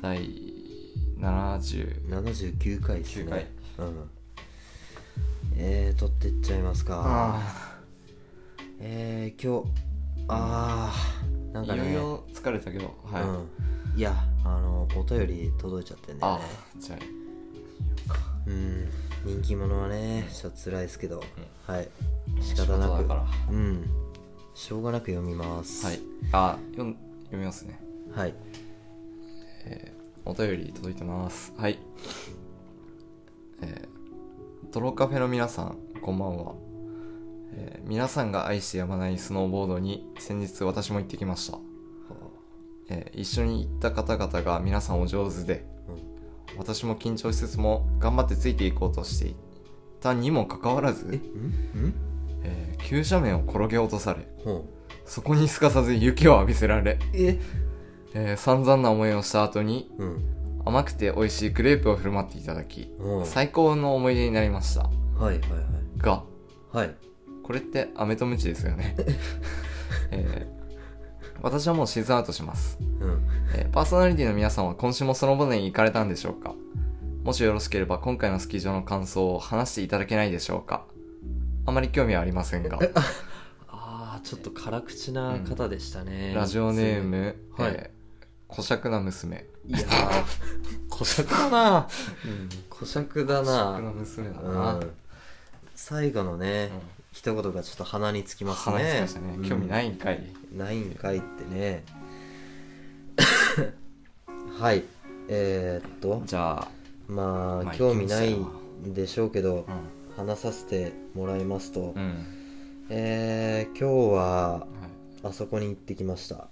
第79 79回ですね回うんえー、取ってっちゃいますかあえー、今日あーなあんいかろねいろ疲れたけどはい、うん、いやあのお便り届いちゃってねあじゃあうん人気者はねちょっと辛いですけど、はい仕方な仕事だくからはうんしょうがなく読みますいあ読ん読みますねはいお便り届いてますはいえー、トロカフェの皆さんこんばんは、えー皆さんが愛してやまないスノーボードに先日私も行ってきました、えー一緒に行った方々が皆さんお上手でうん私も緊張しつつも頑張ってついていこうとしていたにもかかわらず、うんうんえー急斜面を転げ落とされほそこにすかさず雪を浴びせられ、うええー散々な思いをした後にうん甘くて美味しいクレープを振る舞っていただきほう最高の思い出になりましたはいはいがはいはいこれって飴とムチですよね、えー私はもうシーズンアウトします、うんえーパーソナリティの皆さんは今週もそのボネに行かれたんでしょうかもしよろしければ今回のスキー場の感想を話していただけないでしょうかあまり興味はありませんがああちょっと辛口な方でしたね、ラジオネーム、はいえー、小尺な娘いやー小尺だな小尺だ小な尺な娘だな、うん最後のね、一言がちょっと鼻につきますね、話しましたね、興味ないいんかいうんないんかいって ねはいえーっとじゃあ、まあ、まあ興味ないいけまんでしょうけど、話させてもらいますと、うん、えー今日ははあそこに行ってきました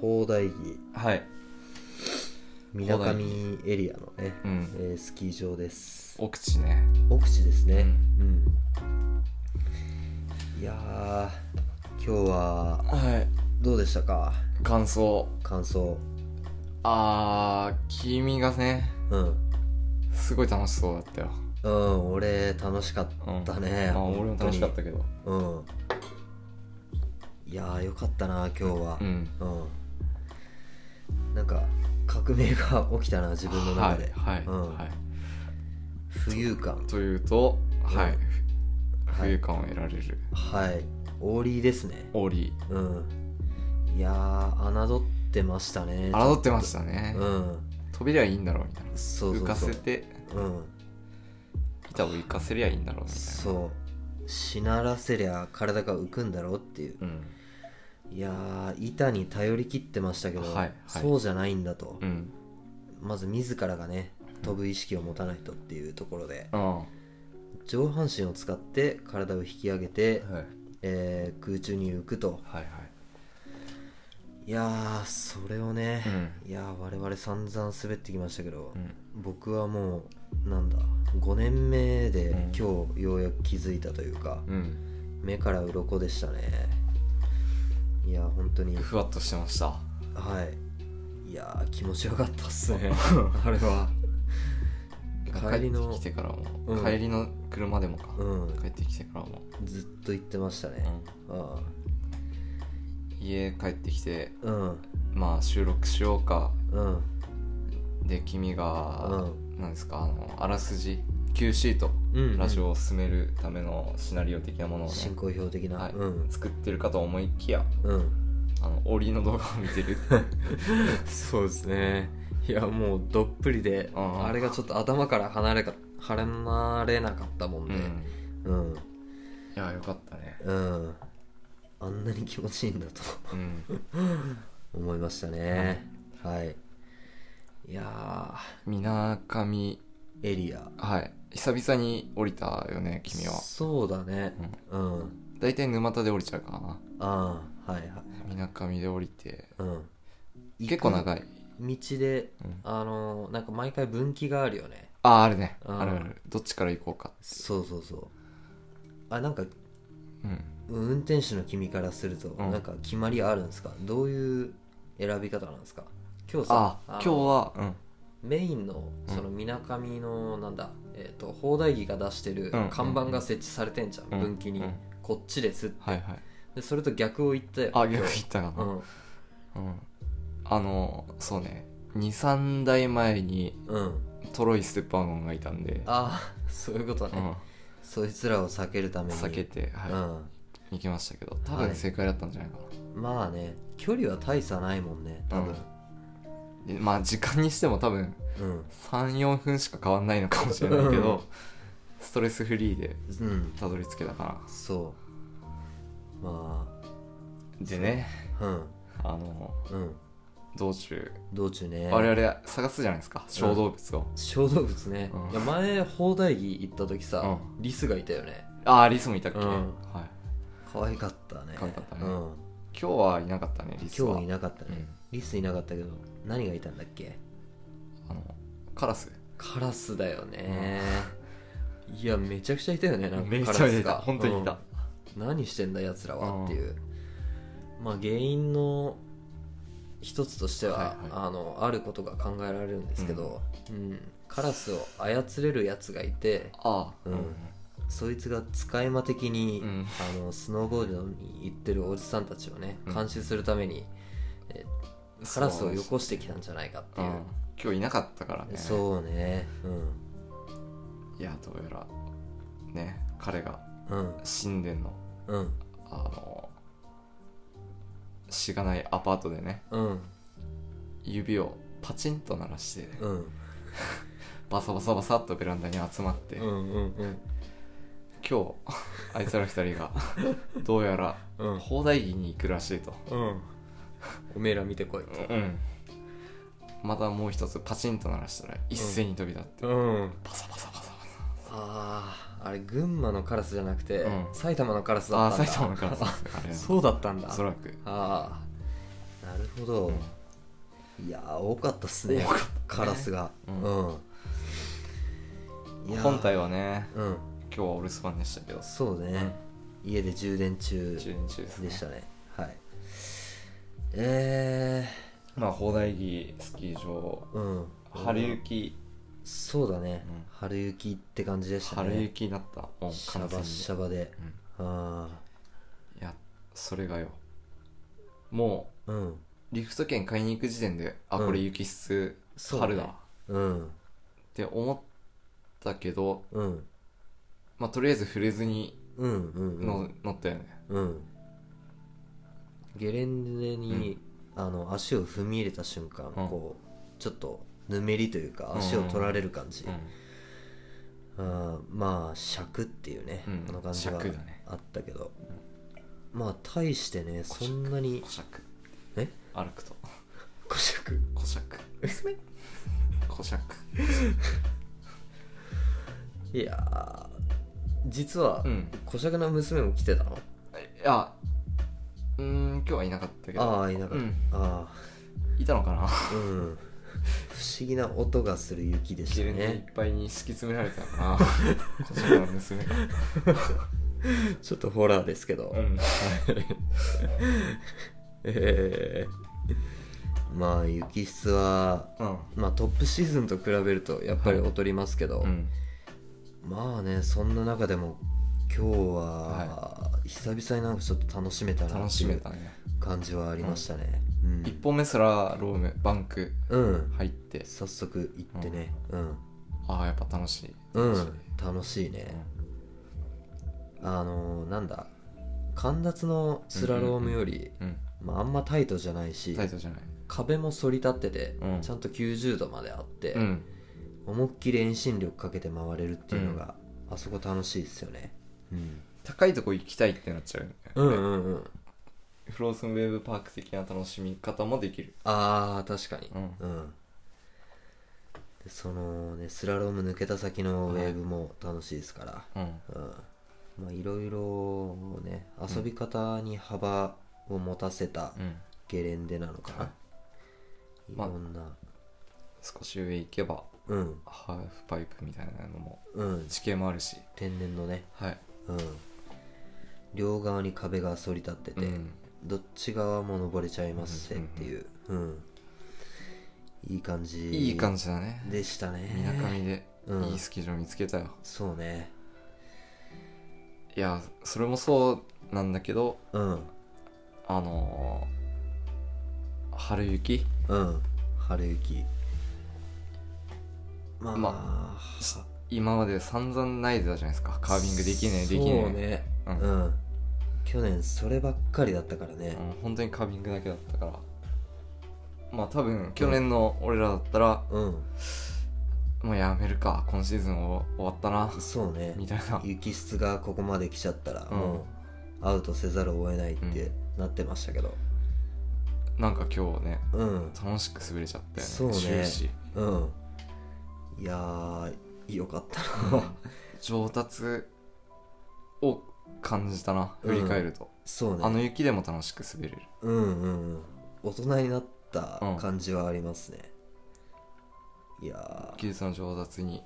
砲台木い、はい、みなかみエリアのね、うんえースキー場です奥地ね奥地ですねうん、いやー今日ははいどうでしたか感想感想あー君がねうんすごい楽しそうだったよ、うん俺楽しかったね、まあ、俺も楽しかったけどたうんいやーよかったな今日はうんうん、なんか革命が起きたな自分のは中で、いはい、うんは浮遊感い、というと、はいうんふはい浮遊感を得られるはいオーリーですねオーリうんいやー侮ってましたねーあらどってましたね、うん飛びりゃいいんだろうみたいなそうそうそう浮かせてうん板を浮かせりゃいいんだろうみたいなそうしならせりゃ体が浮くんだろうっていううんいやー板に頼り切ってましたけど、はいはいそうじゃないんだと、うんまず自らがね飛ぶ意識を持たないとっていうところでうんは上半身を使って体を引き上げてい、はいえー空中に浮くとはいいやーそれをね、ういやー我々散々滑ってきましたけど、うん僕はもうなんだ5年目でうん今日ようやく気づいたというか、うん目から鱗でしたねいやー本当にふわっとしてましたはいいやー気持ちよかったっす ねあれは帰りの帰ってきてからも、うん帰りの車でもか、うん帰ってきてからも、ずっと言ってましたねあうん家帰ってきてあうんまあ収録しようかうんで君が、なんですかあのあらすじ Q シート、うんラジオを進めるためのシナリオ的なものをね、進行表的な、はいうん作ってるかと思いきやうんあのオリの動画を見てるそうですねいやもうどっぷりで、うんあれがちょっと頭から離れか離れなかったもんうでんうんいやよかったねうん、あんなに気持ちいいんだとうん思いましたね、はいいやみなかみーエリアはい久々に降りたよね君はそうだねうん、大体沼田で降りちゃうからなああはいはいみなかみで降りてうん結構長い道で、うんあのーなんか毎回分岐があるよねああるねうんあるあるどっちから行こうかそうそうそうあなんかうん運転手の君からすると、んなんか決まりあるんですかどういう選び方なんですか今日さああの今日はうんメインのそのみなかみのなんだ、えー、と砲台木が出してるうん看板が設置されてんじゃん、うん分岐に、うんこっちですはいはいでそれと逆を言ったよあ逆行ったかうなんうんあのそうね23代前にうんトロイステッパーゴンがいたんで、ああそういうことうね、ん、そいつらを避けるために避けて、はいうん行きましたけど多は分い正解だったんじゃないかな、まあね距離は大差ないもんね多分でまあ時間にしても多分うん34分しか変わんないのかもしれないけどストレスフリーでうん、たどり着けたかそうまなでねあうんあのうん道中道中ね我々探すじゃないですか小動物を、小動物ね、うんいや前砲台木行った時さ、うリスがいたよねああリスもいたっけ、うんはい可愛かったね可愛かったねうん、今日はいなかったねリス今は日いなかったね、うんリスいなかったけど何がいたんだっけあのカラスカラスだよね、 いやめちゃくちゃいたよねなんかめっちカゃラめちゃスいたが本当にいた、うん何してんだやつらはっていう、まあ原因の一つとしては、はいはあのあることが考えられるんですけど、うんカラスを操れるやつがいてああうんそいつが使い魔的に、うんあのスノーボードに行ってるおじさんたちをねうん監視するために、えーカラスをよこしてきたんじゃないかってういんう今日いなかったからねそうねいやどうやらね彼がうんうん神殿のうんあのしがないアパートでねうん指をパチンと鳴らしてうんバサバサバサっとベランダに集まって、うんうんうん今日 あいつら二人がどうやらうん砲台儀に行くらしいと、うんおめえら見てこいとうんまたもう一つパチンと鳴らしたら一斉に飛び立って、うんバサバサバサバあーあれ群馬のカラスじゃなくて、うん埼玉のカラスサだあっーたんだ埼玉から ですあれそうだったんだおそらくああなるほど、いやー多かったっすねカラスがう、うんんいやー本体はねうん今日はお留守番でしたけどそうね、家で充電中中日中ですねでしたねはいえまあ砲台儀スキー場ー、うん春行きそうだね、うん春行きって感じでしたね春行きだったもうシャ完全バにシャバで、あいやそれがよもあうんうリフト券買いに行く時点であうんこれ雪質そうね春だっうんて思ったけどうんまあとりあえず触れずにうんうんうんの乗ったよねうんゲレンデに、あの足を踏み入れた瞬間、うんこうちょっとぬめりというか足を取られる感じ、うんまあ尺っていうね、うんこの感じが尺だねあったけど、まあ大してねそんなに古尺え歩くと古尺古尺古尺いやー実はうん古尺な娘も来てたの、いやうーん今日はいなかったけどああいなかった、うんあいたのかなあうん不思議な音がする雪でしたゲレンデいねっぱいに敷き詰められたのかな こちらの娘がちょっとホラーですけど、うん えーまあ雪質は、うんまあ、トップシーズンと比べるとやっぱり劣りますけど、うんまあねそんな中でも今日は、久々になんかちょっと楽しめたな楽ってしいめうたね感じはありましたねうん、一本目すらロームバンクうん入って早速行ってねうん、ああやっぱ楽しいうん楽しい楽しいね、あのーなんだ寒脱のスラロームより、うんまあ、あんまタイトじゃないしタイトルじゃない壁も反り立ってて、うんちゃんと90度まであって、うん思いっきり遠心力かけて回れるっていうのが、あそこ楽しいですよね、うん、高いとこ行きたいってなっちゃうよねうんうんうんフローズンウェーブパーク的な楽しみ方もできるあー確かにうんうんでそのねスラローム抜けた先のウェーブも楽しいですから、うんうんまあいろいろね遊び方に幅を持たせたうんゲレンデなのかな、いまあろんな、少し上行けばうんハーフパイプみたいなのもうん地形もあるし天然のねはいうん両側に壁が反り立ってて、うんどっち側も登れちゃいますぜっていう、うん、いい感じいい感じだねでしたねみなかみでうんいいスキー場見つけたよそうねいやそれもそうなんだけどうんあのー春雪うん春雪まあ、ま今まで散々泣いてたじゃないですかカービングできねえできねえそうねううんん、去年そればっかりだったからねうん本当にカービングだけだったからまあ多分去年の俺らだったら、うん、もうやめるか今シーズンを終わったなそうねみたいな雪質がここまで来ちゃったらうんもうアウトせざるを得ないってなってましたけどなんか今日ねうん楽しく滑れちゃったよねそうね終始うんいやーよかった な上達を感じたな振り返ると、そうねあの雪でも楽しく滑れるうんうんうん大人になった感じはありますね、いやー技術の上達に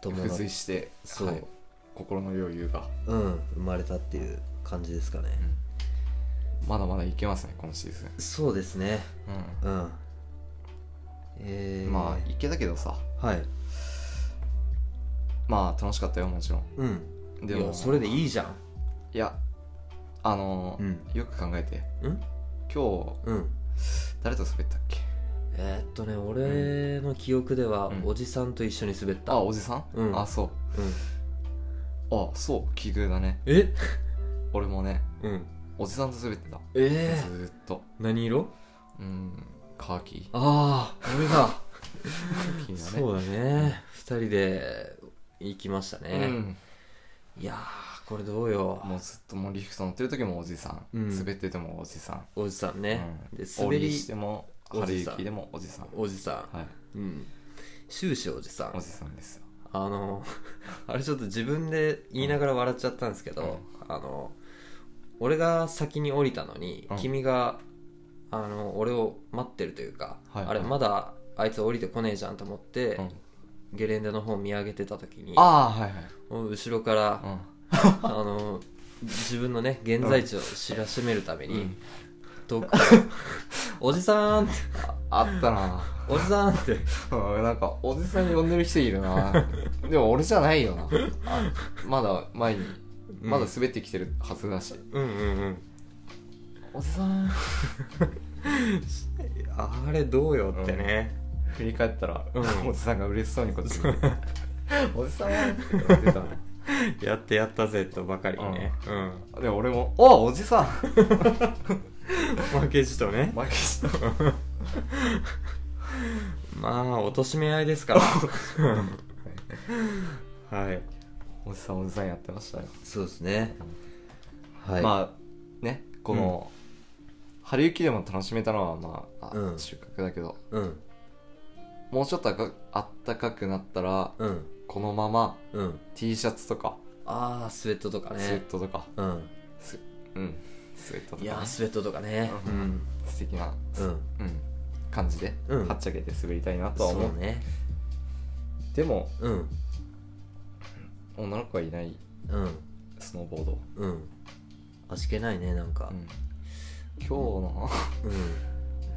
友付随達して、そうはい心の余裕がうん生まれたっていう感じですかね、まだまだいけますね今シーズン、そうですねうんえうー、んまあいけたけどさあはいまあ楽しかったよもちろんうんでもいやそれでいいじゃんいやあのーうんよく考えてうん今日うん誰と滑ったっけえーっとね俺の記憶では、うんおじさんと一緒に滑ったあおじさん、うんあそううんあそう奇遇だねえ俺もねうんおじさんと滑ってた、えずーっとー、何色うんカーキああ俺だカーキだね そうだね2人で行きましたね、うんいやーこれどうよもうずっともうリフト乗ってる時もおじさん、うん滑っててもおじさん、おじさんね、うん、で滑滑りりしてもお春じさん雪でもおじさんおじさはいん、うん、終始おじさおんじさんですよあの あれちょっと自分で言いながら笑っちゃったんですけど、あの俺が先に降りたのに、うん君があの俺を待ってるというか、はいあれまだあいつ降りてこねえじゃんと思って、うんゲレンデの方見上げてた時にああはいはい後ろから、うんあの自分のね現在地を知らしめるために、うん遠 くからおじさんってあったな おじさんってうんなんかおじさん呼んでる人いる なでも俺じゃないよなあまだ前にうんまだ滑ってきてるはずだし、うんうんうんおじさんあれどうよってね、振り返ったら、うんおじさんが嬉しそうにこっち見て おじさんって 言ってたねやってやったぜとばかりね、うんで俺も「おおじさん! 負けじと」ね負けしたまあ貶としめ合いですからはいおじさんおじさんやってましたよ、そうですねはい、まあねこの、春雪でも楽しめたのはまああ、うん収穫だけどうんもうちょっとあかあったかくなったらうんこのままうん T シャツとかああスウェットとかスウェッねトとか、うんうんスウェットとか、いね、やースウェットとかねううん素敵な、うんうん、感じで、うんはっちゃけて滑りたいなとはそ思ううねでもうん女の子はいないうんスノーボード、うん味気ないねなんかうん今日の、 う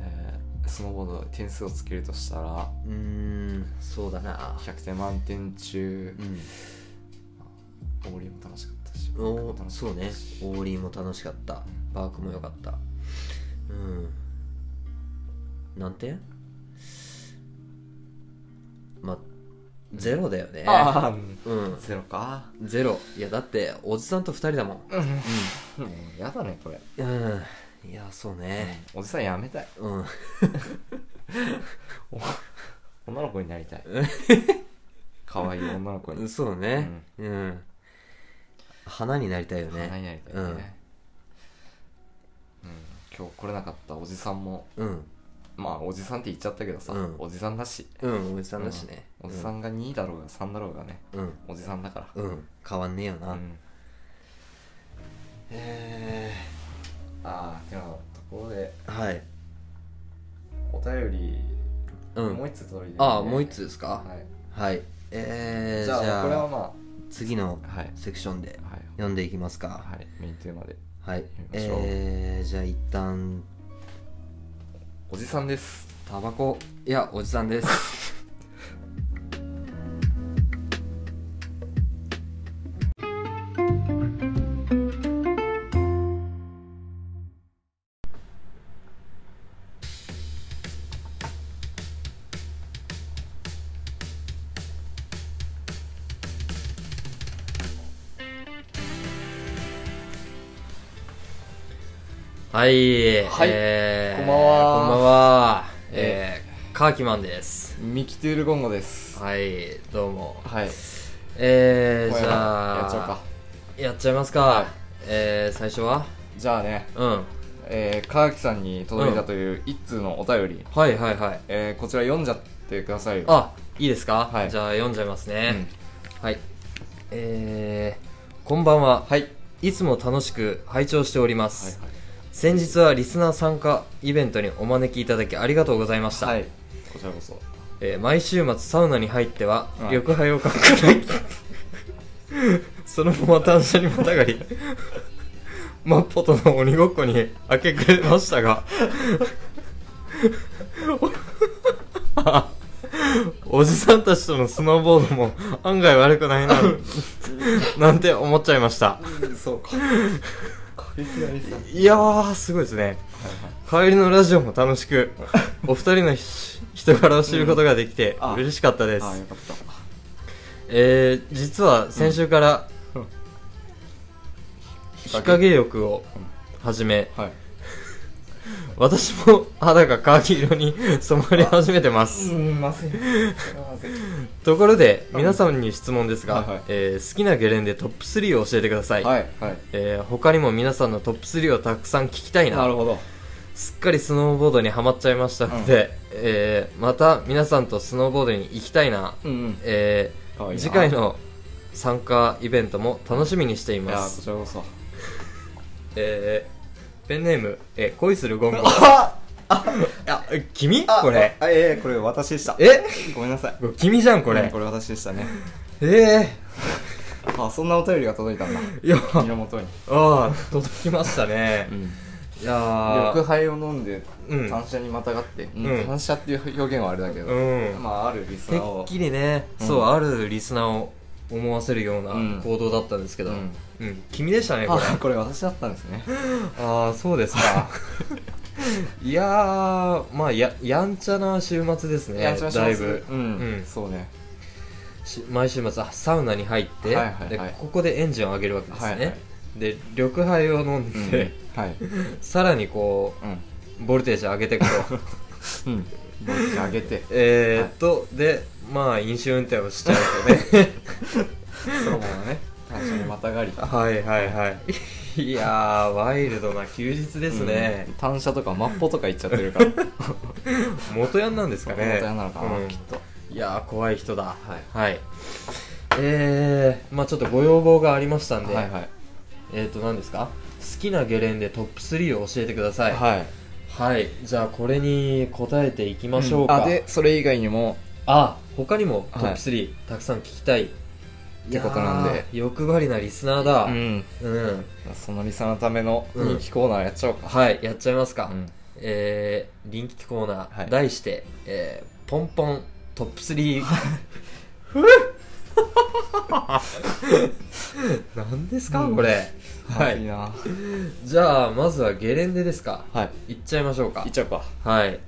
えースノーボード点数をつけるとしたらんうんんそうだな100点満点中う、んオーリーも楽しかったしおバークも楽しかそっうねたしオーリーも楽しかったバークも良かったうん何点まあゼロだよねああ、うんゼロか、ゼロいやだっておじさんと2人だもんうんやだねこれうんいやそうねおじさんやめたいうん女の子にな りたい可愛い女の子にそうねうん花になりたいよ花にねなりたいね、うん今日来れなかったおじさんもうんまあおじさんって言っちゃったけどさ、うんおじさんだしうんおじさんだしねおじさんが2だろうが3だろうがねうんおじさんだかうん変わんねえよらなうんえああてなところでーはいお便り、うんもう一つ届いてるんでああもう一つですかはいはいえー、じじゃゃああこれはま次のあはいセクションではい読んでいきますかはいメインテーマではい読みましょうえー、じゃあ一旦おじさんですタバコいやおじさんですはい、はいえーこんばんはこんばんは。ええー、カーキマンです。ミキトゥールゴンゴですはい、どうも。はいえー、今じ夜ゃあ、やっちゃおうかやっちゃいますか。えー、最初はじゃあねうん。えー、川木さんに届いたという一通のお便り、はいはいはい。えー、こちら読んじゃってくださいよあ、いいですか、はいじゃあ読んじゃいますうねん。はい。えー、こんばんは。はいいつも楽しく拝聴しておりまはす。い先日はリスナー参加イベントにお招きいただきありがとうございました。はい、はい、こちらこそえー毎週末サウナに入ってはうん緑肺をかっくらい そのまま単車にまたがりマッポとの鬼ごっこに明け暮れましたが おじさんたちとのスノーボードも案外悪く ないななんて思っちゃいました そうか。過激なりさ。いやーすごいですね帰りのラジオも楽しくお二人のひ人柄を知ることができてうんあ嬉しかったです、ああ、よかった。えー実は先週から、うん日陰浴を始めはい。私も肌がカーキ色に染まり始めてますん、まずい。まずい。ところで皆さんに質問ですが、はいはいえー好きなゲレンデトップ3を教えてください、はい、はえー他にも皆さんのトップ3をたくさん聞きたいい。ななるほど。すっかりスノーボードにはまっちゃいましたので、えーまた皆さんとスノーボードに行きたいな、うんうん。えーかわいいな次回の参加イベントも楽しみにしていいやまー、こすちらこそ。えー、ペンネーム、えー恋するゴンゴ。ああ、君これ。あ、ええ、これ私でした。えごめんなさい。君じゃん、こうんれこ。れ私でしたね。えあ、そんなお便りが届いたんだ。ー、いや、身の元に。あー、届きましたねう。ん。いや緑ー、肺を飲んで、うん単車にまたがって。うん単車っていう表現はあれだけうど。ん。まあ、あるリスてナっーを。きりね、うんそう、あるリスナーを思わせるようなうん行動だったんですけど、ううんん、君でしたね、これ。あ、これ私だったんですね。ああ、そうです か。いやー、まあ、や、やんちゃな週末ですね。やっちゃいましょうだいぶ。ううんん。そうね。し毎週末あサウナに入って、はいはいはいでここでエンジンを上げるわけですね、はいはいで緑肺を飲うんんで、はい。さらにこうん。うボルテージ上げていくとうん。ボルテージ上げて。 えーっと、でまあ飲酒運転をしちゃうと ねそうだね。単車にまたがり。はいはいはいいやーワイルドな休日ですねうん、単車とかマッポとか行っちゃってるから元ヤンなんですかね元ヤンなのかな、うんきっといやー怖い人だはいはいえー、まあちょっとご要望がありましたんで、はいはいえーっと何ですか好きなゲレンデトップ3を教えてくださいはいはいじゃあこれに答えていきましょうか、あでそれ以外にもあ他にもトッはいプ3、たくさん聞きたいってことなんで欲張りなリスナーだううん、んそのリサのためのうん人気コーナーやっちゃおうか、はいやっちゃいますか、うんえー、人気コーナー、はい題して、えーポンポントップ3」何ですか、うんこれはまずいいなはじゃあまずはゲレンデですかいいっちゃいましょうかいっちゃおうか、はい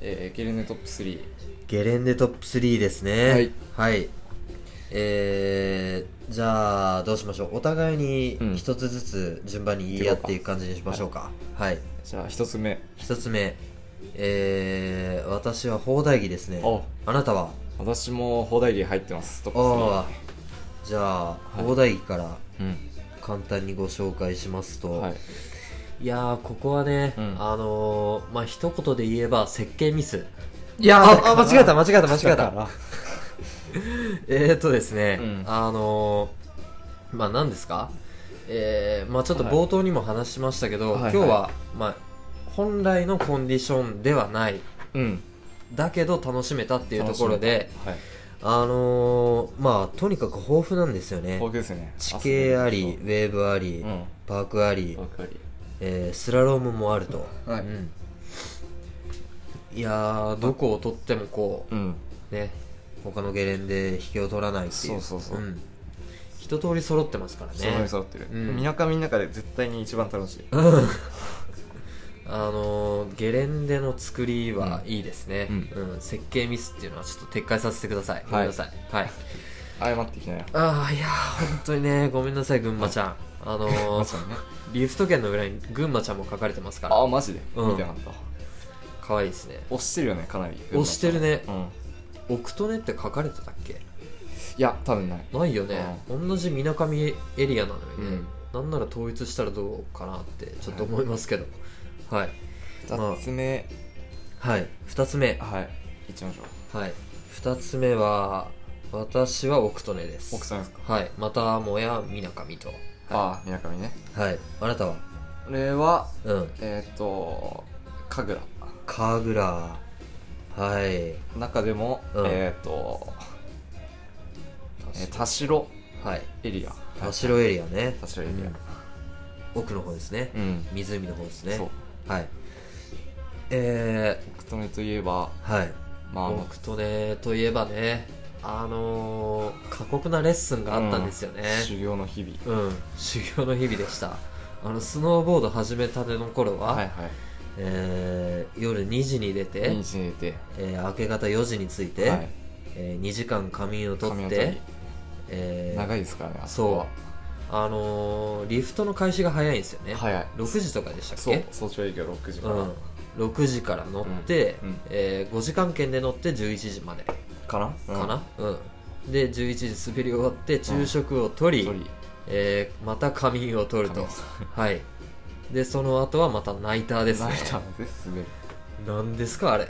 えー、ゲレンデトップ3ゲレンデトップ3ですねはい、はいえー、じゃあどうしましょうお互いにうん一つずつ順番に言い合っていく感じにしましょうかはいじゃあ一つ目一、つ目えー、私は放題着ですねおあなたは私も放題着入ってますトップああ3じゃあい放題着からうん簡単にご紹介しますと、はいい、やーここはね、うんあのー、まあ一言で言えば設計ミスいやああ間違えた間違えた間違え ただか えー、っとですね、うんあのー、まあ何ですかえー、まあちょっとはい冒頭にも話しましたけど、はいはい今日は、まあ、本来のコンディションではないらうんだけど楽しめたっていうところではいあのー、まあとにかく豊富なんですよね豊富ですね地形ありウェーブあり、うんパークありわ、かりえースラロームもあると、はいうんいやーどこを取ってもこううんね他のゲレンデ引けを取らないっていう、そうそうそうん一通り揃ってますからねそろ揃ってるうんみなかみの中で絶対に一番楽しいあのーゲレンデの作りはうんいいですね、うん設計ミスっていうのはちょっと撤回させてください、いごめんなさい、はい謝ってきなよああいやー本当にねごめんなさい群馬ちゃんあのまー、さにねリフト券の裏に群馬ちゃんも書かれてますからああマジで、うん見てなかった可愛いですね押してるよねかなり押してるねうんオクトネって書かれてたっけいや多分ないないよね、同じみなかみエリアなのにね、なんなら統一したらどうかなってちょっと思いますけどはい2つ目、はい2つ目はいいっちゃいましょうはい2つ目は私はオクトネです奥さんですか、はいまたもやみなかみとああみなかみねはいあなたは俺はうんえっ、と神楽神楽はい中でも、うんえっ、と、えー、田代はいエリア田代エリアね田代エリ奥の方ですねアうん、湖の方ですねそうはいえ奥留といえばー、はいまああのオクトネといえばねあのー過酷なレッスンがあったんですよね、修行の日々うん修行の日々でしたあのスノーボード始めたての頃は、はいはいえー、夜2時に出て、毎日寝てえー明け方4時に着いて、はいえー、2時間仮眠をと髪っのて毛、えー長いですからねあそこそはうあのーリフトの開始が早いんですよね、早い6時とかでしたっそうけ早朝営業6時かうら、ん6時から乗って、うんうんえ5時間券で乗って11時までかなかな、うんで11時滑り終わって昼食をとり、一人えーまた仮眠を取ると髪はいでその後はまたナイターですね泣いたので滑るなんですかあ れい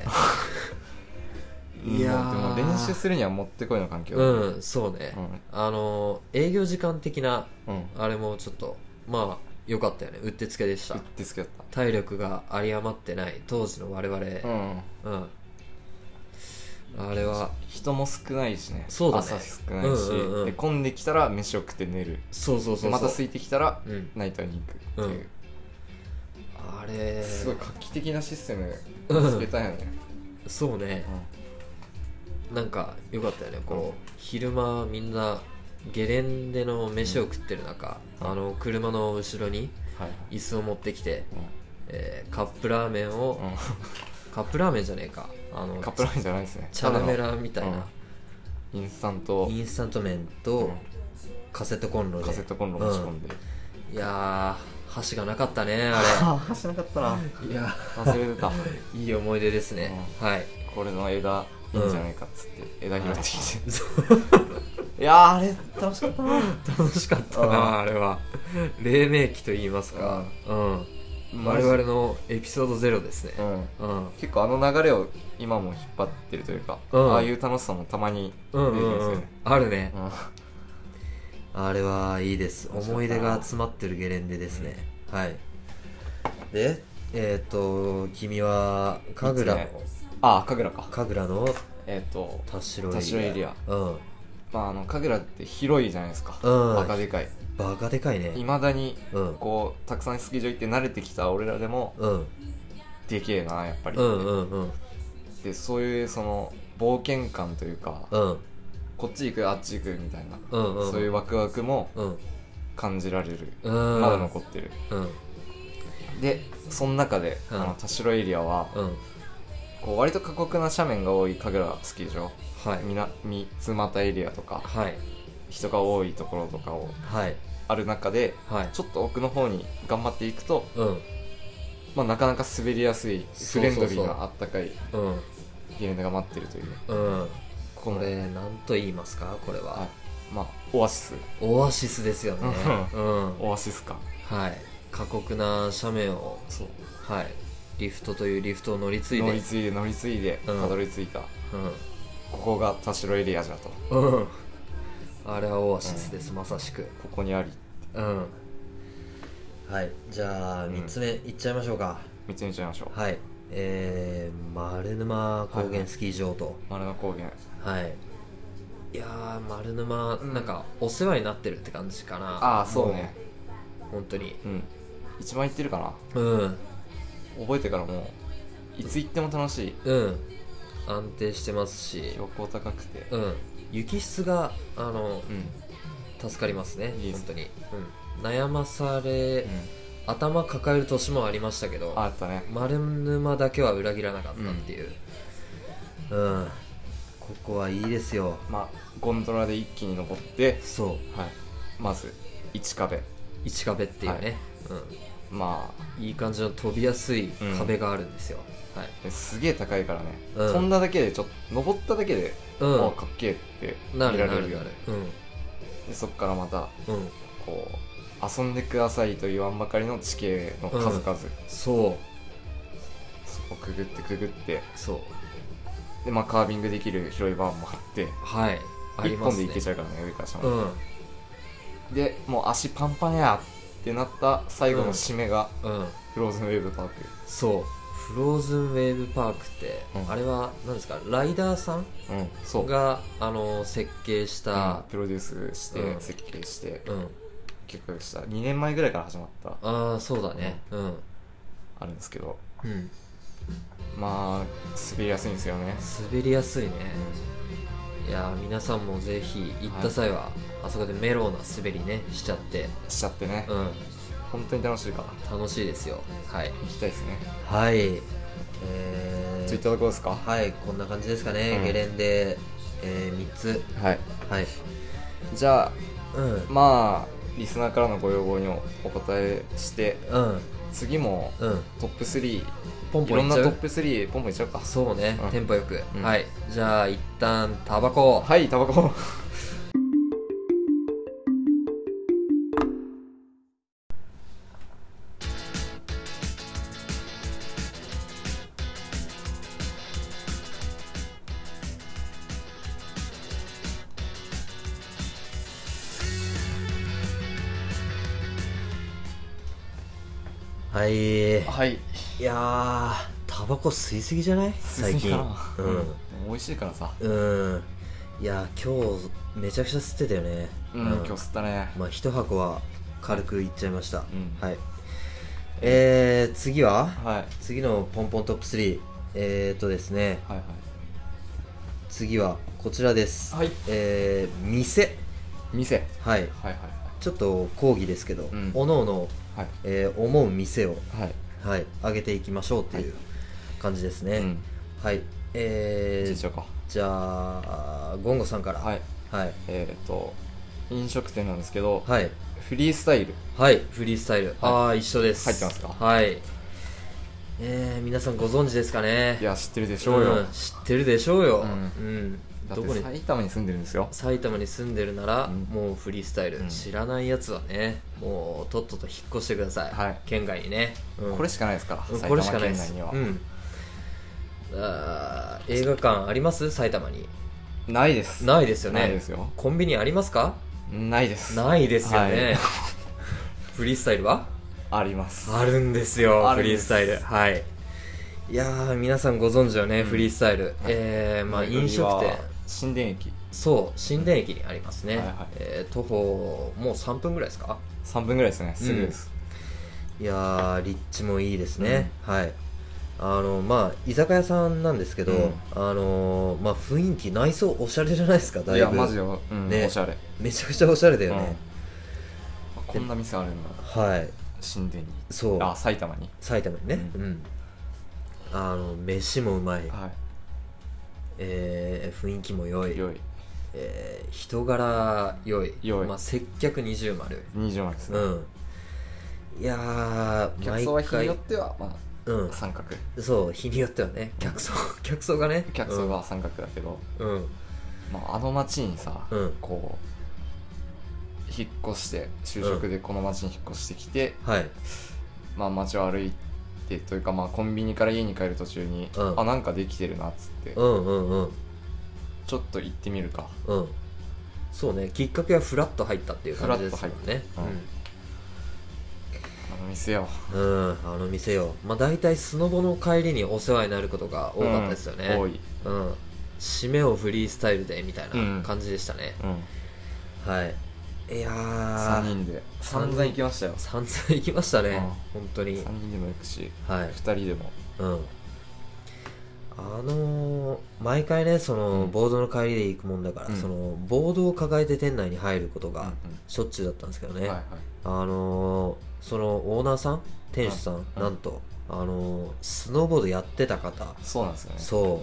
やーでも練習するにはもってこいの環境うんそうね、あのー営業時間的なうんうんあれもちょっとまあ良かったよねうってつけでしたディスクやった体力が有り余ってない当時の我々うん、んあれは人も少ないしねそうだね朝少ないし、うんうんうんで混んできたら飯を食って寝るそうそうそうでそうまた空いてきたらうんナイターに行くっていう、あれすごい画期的なシステムつけたよね、そうねなんか良かったよねこう昼間みんなゲレンデの飯を食ってる中、うんあの車の後ろにはいはい椅子を持ってきて、うんえーカップラーメンを、カップラーメンじゃねえかあのカップラーメンじゃないですねチャラメただラみたいな、のインスタントインスタント麺とうんカセットコンロでカセットコンロ持ち込んで、いやー箸がなかったねあああ走らなかったなれいや忘れてたいい思い出ですね、はいこれの枝いいんじゃないかっつって、枝拾って きていやーあれ楽しかったな楽しかったなあれは黎明期と言いますか、うん我々のエピソードゼロですねうんうん結構あの流れを今も引っ張ってるというか、うんああいう楽しさもたまに出うんてうるんんですうよんね、あるねうんあれはいいです面白思かっいた出が詰まってるゲレンデですね、はいでえっ、と君は神楽の三ああ神楽か神楽のえっ、と田代エリア田代エリアうんまああの神楽って広いじゃないですか、うんバカでかいバカでかいいねまだにうんこうたくさんスキー場行って慣れてきた俺らでもうんでけえなやっぱり、うんうんうんでそういうその冒険感というか、うんこっち行くあっち行くみたいな、うんうんそういうワクワクもうん感じられる、うんまだ残ってるうんでその中で、うんあの田代エリアは、うんこう割と過酷な斜面が多い神楽スキー場はいみな三つ股エリアとかはい人が多いところとかをはいある中ではいちょっと奥の方に頑張っていくと、うんまあ、なかなか滑りやすいそフうそうそレンうドリーなあったかういんゲレンデが待ってるといううんここの、れ何と言いますかこれははいまあ、オアシスオアシスですよねうんオアシス感はい過酷な斜面をそうはいリフトというリフトを乗り継い乗でり継いで乗り継いでうんたどり着いた、ここが田代エリアじゃとうん、うん、あれはオアシスです、まさしくここにありうんはいじゃあ3つ目いっちゃいましょうか、見てみちゃいましょうはいえー、丸沼高原スキー場と、丸の高原はい。いやー丸沼、なんかお世話になってるって感じかなああそうね本当にうん一番行ってるかなうん覚えてからもういつ行っても楽しいうん安定してますし標高高くてうん雪質があのうん、助かりますねいいです本当に、うん、悩まされ、頭抱える年もありましたけどああったね丸沼だけは裏切らなかったっていう、うん。ここはいいですよまあゴンドラで一気に登って、そうはい、まず1壁一壁っていうね、まうん、いい感じの飛びやすい壁があるんですよ、はいあすげえ高いからね、うん飛んだだけでちょっと登っただけで、うんああかっけえって見なられるるよなねるなるでそっからまたうんうんこう遊んでくださいと言わんばかりの地形の数々、そうそこくぐってくぐってそうでまあカービングできる広いバーンもあってはいあ一りま本すでね行けちゃうからね上から下まで、うんでもう足パンパンやってなった最後の締めがうんフローズンウェーブパーク、そうフローズンウェーブパークって、うんあれは何ですかライダーさんうん、そうがあの設計しうんた、プロデュースして、うん設計してうん結構した2年前ぐらいから始まったああそうだねうん、あるんですけどうん、まあ滑りやすいんですよね滑りやすいね、いやー皆さんもぜひ行った際は、あそこでメロウな滑りねしちゃってしちゃってね、うん本当に楽しいから楽しいですよはい行きたいですねはいえツイッターどこですかはいこんな感じですかね、うんゲレンデ、え3つはいはいじゃあうんまあリスナーからのご要望にお答えしてうん次もうんトップ3ポンいポンいろんっなちゃトうップ3ポンポンいっちゃうかそうね、うんテンポよく、うんはいじゃあ一旦タバコはいタバコはいいはいやータバコ吸いすぎじゃない最吸いすぎ近かなうん、美味しいからさうんいや今日めちゃくちゃ吸ってたよねうん、今日吸ったねまあ一箱は軽くいっちゃいました、んはいえー、次ははいはい次のポンポントップ3えーとですねはい次はこちらですはいえー、店店ははいいはいちょっと講義ですけど、んおのおの、はいえー思う店をはいははいい上げていきましょうっていう感じですね、うんはいえじゃあー、しようかじゃあゴンゴさんからはいはいえっ、と飲食店なんですけど、はいフリースタイルはい、フリースタイル。ああ、一緒です。入ってますかはい。えー、皆さんご存知ですかねいや知ってるでしょうよ、ん知ってるでしょうよ。う。うんだどっこてに埼玉に住んでるんですよ埼玉に住んでるなら、うんもうフリースタイル、うん知らないやつはね、もうとっとと引っ越してください。はい県外にね。うんこれしかないですから、うん埼これ玉しかない県で内す。には、うん。あー映画館あります埼玉に。ないですないですよね。ないですよコンビニありますかないですないですよね。はい フリースタイルはありますあるんですよあフるんリーでスすタイルはいいやー皆さんご存知よね、んフリースタイル、えー、まあ飲食店新田駅そう新田駅にありますね、はいはいえー徒歩もう3分ぐらいですか3分ぐらいですねすぐです、いやー立地もいいですね、はいあのまあ居酒屋さんなんですけど、うんあのーまあ雰囲気内装おしゃれじゃないですかだいぶいやマジよ、うんねおしゃれ、めちゃくちゃおしゃれだよね、うんこんな店あるんだはい新田にそうあ埼玉に埼玉にねう、うんあの飯もうまい、はえー雰囲気も良いい良いえー人柄良い良いまあ、接客二重丸20万ですね、うんいやー客層は毎日に回よっては、まうんあ、三角そう日によってはね客層 客層がね客層は三角だけど、うん、うんまあ、あの町にさ、うんこう引っ越して就職でこの町に引っ越してきて、はいまあ街を歩いてというか、まあ、コンビニから家に帰る途中に、うんあなんかできてるなっつって、うんうんうんちょっと行ってみるかうんそうねきっかけはフラッと入ったっていう感じですもんねフラッと入っあの店ようん、うん、あの店よまあ大体スノボの帰りにお世話になることが多かったですよね、うん多い、うん締めをフリースタイルでみたいうんな感じでしたね、うん、はいいやー3人で三人散々行きましたよ散々行きましたね、うん本当に3人でも行くしはい2人でもうんあのー毎回ねその、うんボードの帰りで行くもんだから、うんそのボードを抱えて店内に入ることうんがしょっちゅうだったんですけどうね、んはいはいあのーそのオーナーさん店主さん、うんなんとあのースノーボードやってた方そうなんですよねそ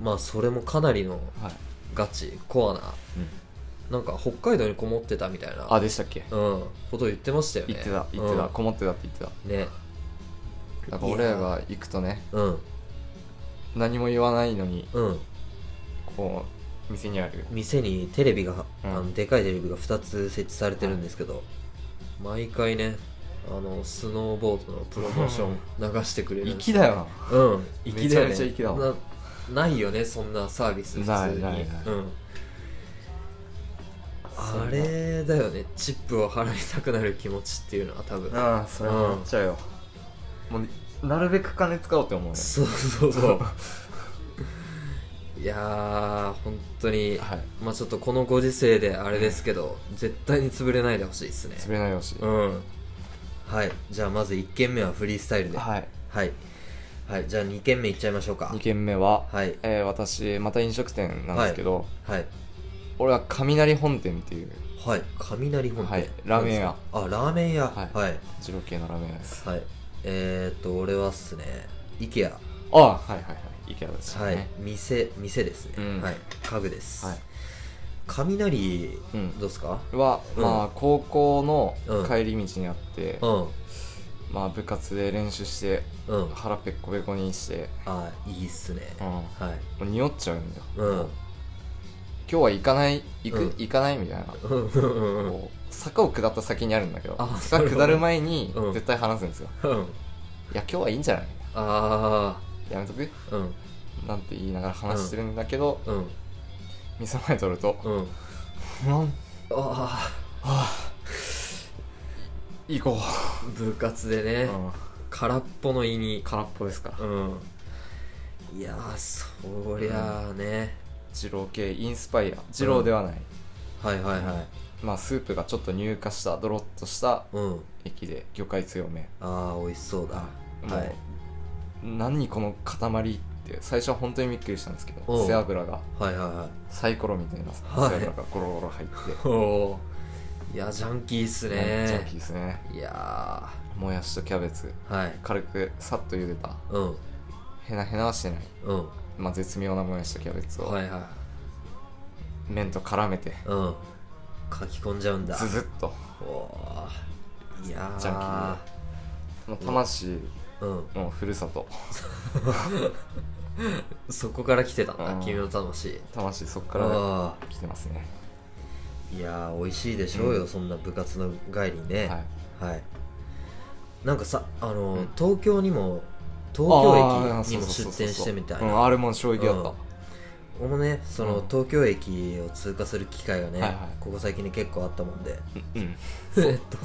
うまあそれもかなりのはい、ガチコアなうん、なんか北海道にこもってたみたいなあでしたっけうんことを言ってましたよね言ってた言ってた、こもってたって言ってたうんねだから俺らが行くとねうん何も言わないのにうんこう店にある店にテレビが、うんあのでかいテレビが2つ設置されてるんですけど、毎回ねあのスノーボードのプロモーション流してくれるんです粋だようん粋だよねめちゃめちゃ粋だわなないよねそんなサービス普通にないないなういん、そうあれだよねチップを払いたくなる気持ちっていうのは多分なああそれは思っちゃうよ、もうなるべく金使おうって思うねそうそうそういやー本当に、はいまあちょっとこのご時世であれですけど、絶対に潰れないでほしいですね滑れないでほしい、うんはいじゃあまず1軒目はフリースタイルではい、はいはいじゃあ2軒目いっちゃいましょうか2軒目は、はいえー私また飲食店なんですけど、はい俺は雷本店っていうはい雷本店、はいラーメン屋あラーメン屋ははいいはい、二郎系のラーメン屋ですえー、っと俺はっすね IKEA ああはいはいはい池田ですねはい、店店ですね、うんはい家具です、はい雷うんどうっすかは、うんまあ高校うのん帰り道にあって、うんまあ部活で練習してうん腹ペッコペコにして、あいいっすね、うん、もはいう匂っちゃうんだようん今日は行かない行く、うん行かないみたいな、うんうんうんこう坂を下った先にあるんだけどあ坂下る前にうん絶対話すんですよ、うんいや今日はいいんじゃないあやめとくあうんなんて言いながら話してるんだけど、うん店の前取るとうん「なんあ行こあ部活でう」ね、うん空っぽの胃に空っぽですかうんいやーそりゃあね、二郎系インスパイア二郎ではない、はいはいはいまあスープがちょっと乳化したドロッとしたうん液で魚介強めああ美味しそうだもう、はい何この塊って最初は本当にびっくりしたんですけおどう背脂がはいはいはいサイコロみたいな背はい脂がゴロゴロ入って、おおーいやジャンキーっすめっちゃ大ねきいですねいやもやしとキャベツーはい軽くさっと茹でたうんへなへなはしてない、うんまあ、絶妙なもやしとキャベツーをはいは麺と絡めてうん書き込んじゃうんだズズッとおおーいやージャンキーもう魂うんのふるさとそこから来てたんだうん君の魂魂そっからあ来てますねーいやー美味しいでしょうよ、うんそんな部活の帰りねはいはい、なんかさあのー、うん東京にも東京駅にも出店してみたいあーそうそうそうそううんなあれも衝撃だった、うん俺もねその、うん東京駅を通過する機会がね、はいはいここ最近に結構あったもんでうん、 えっと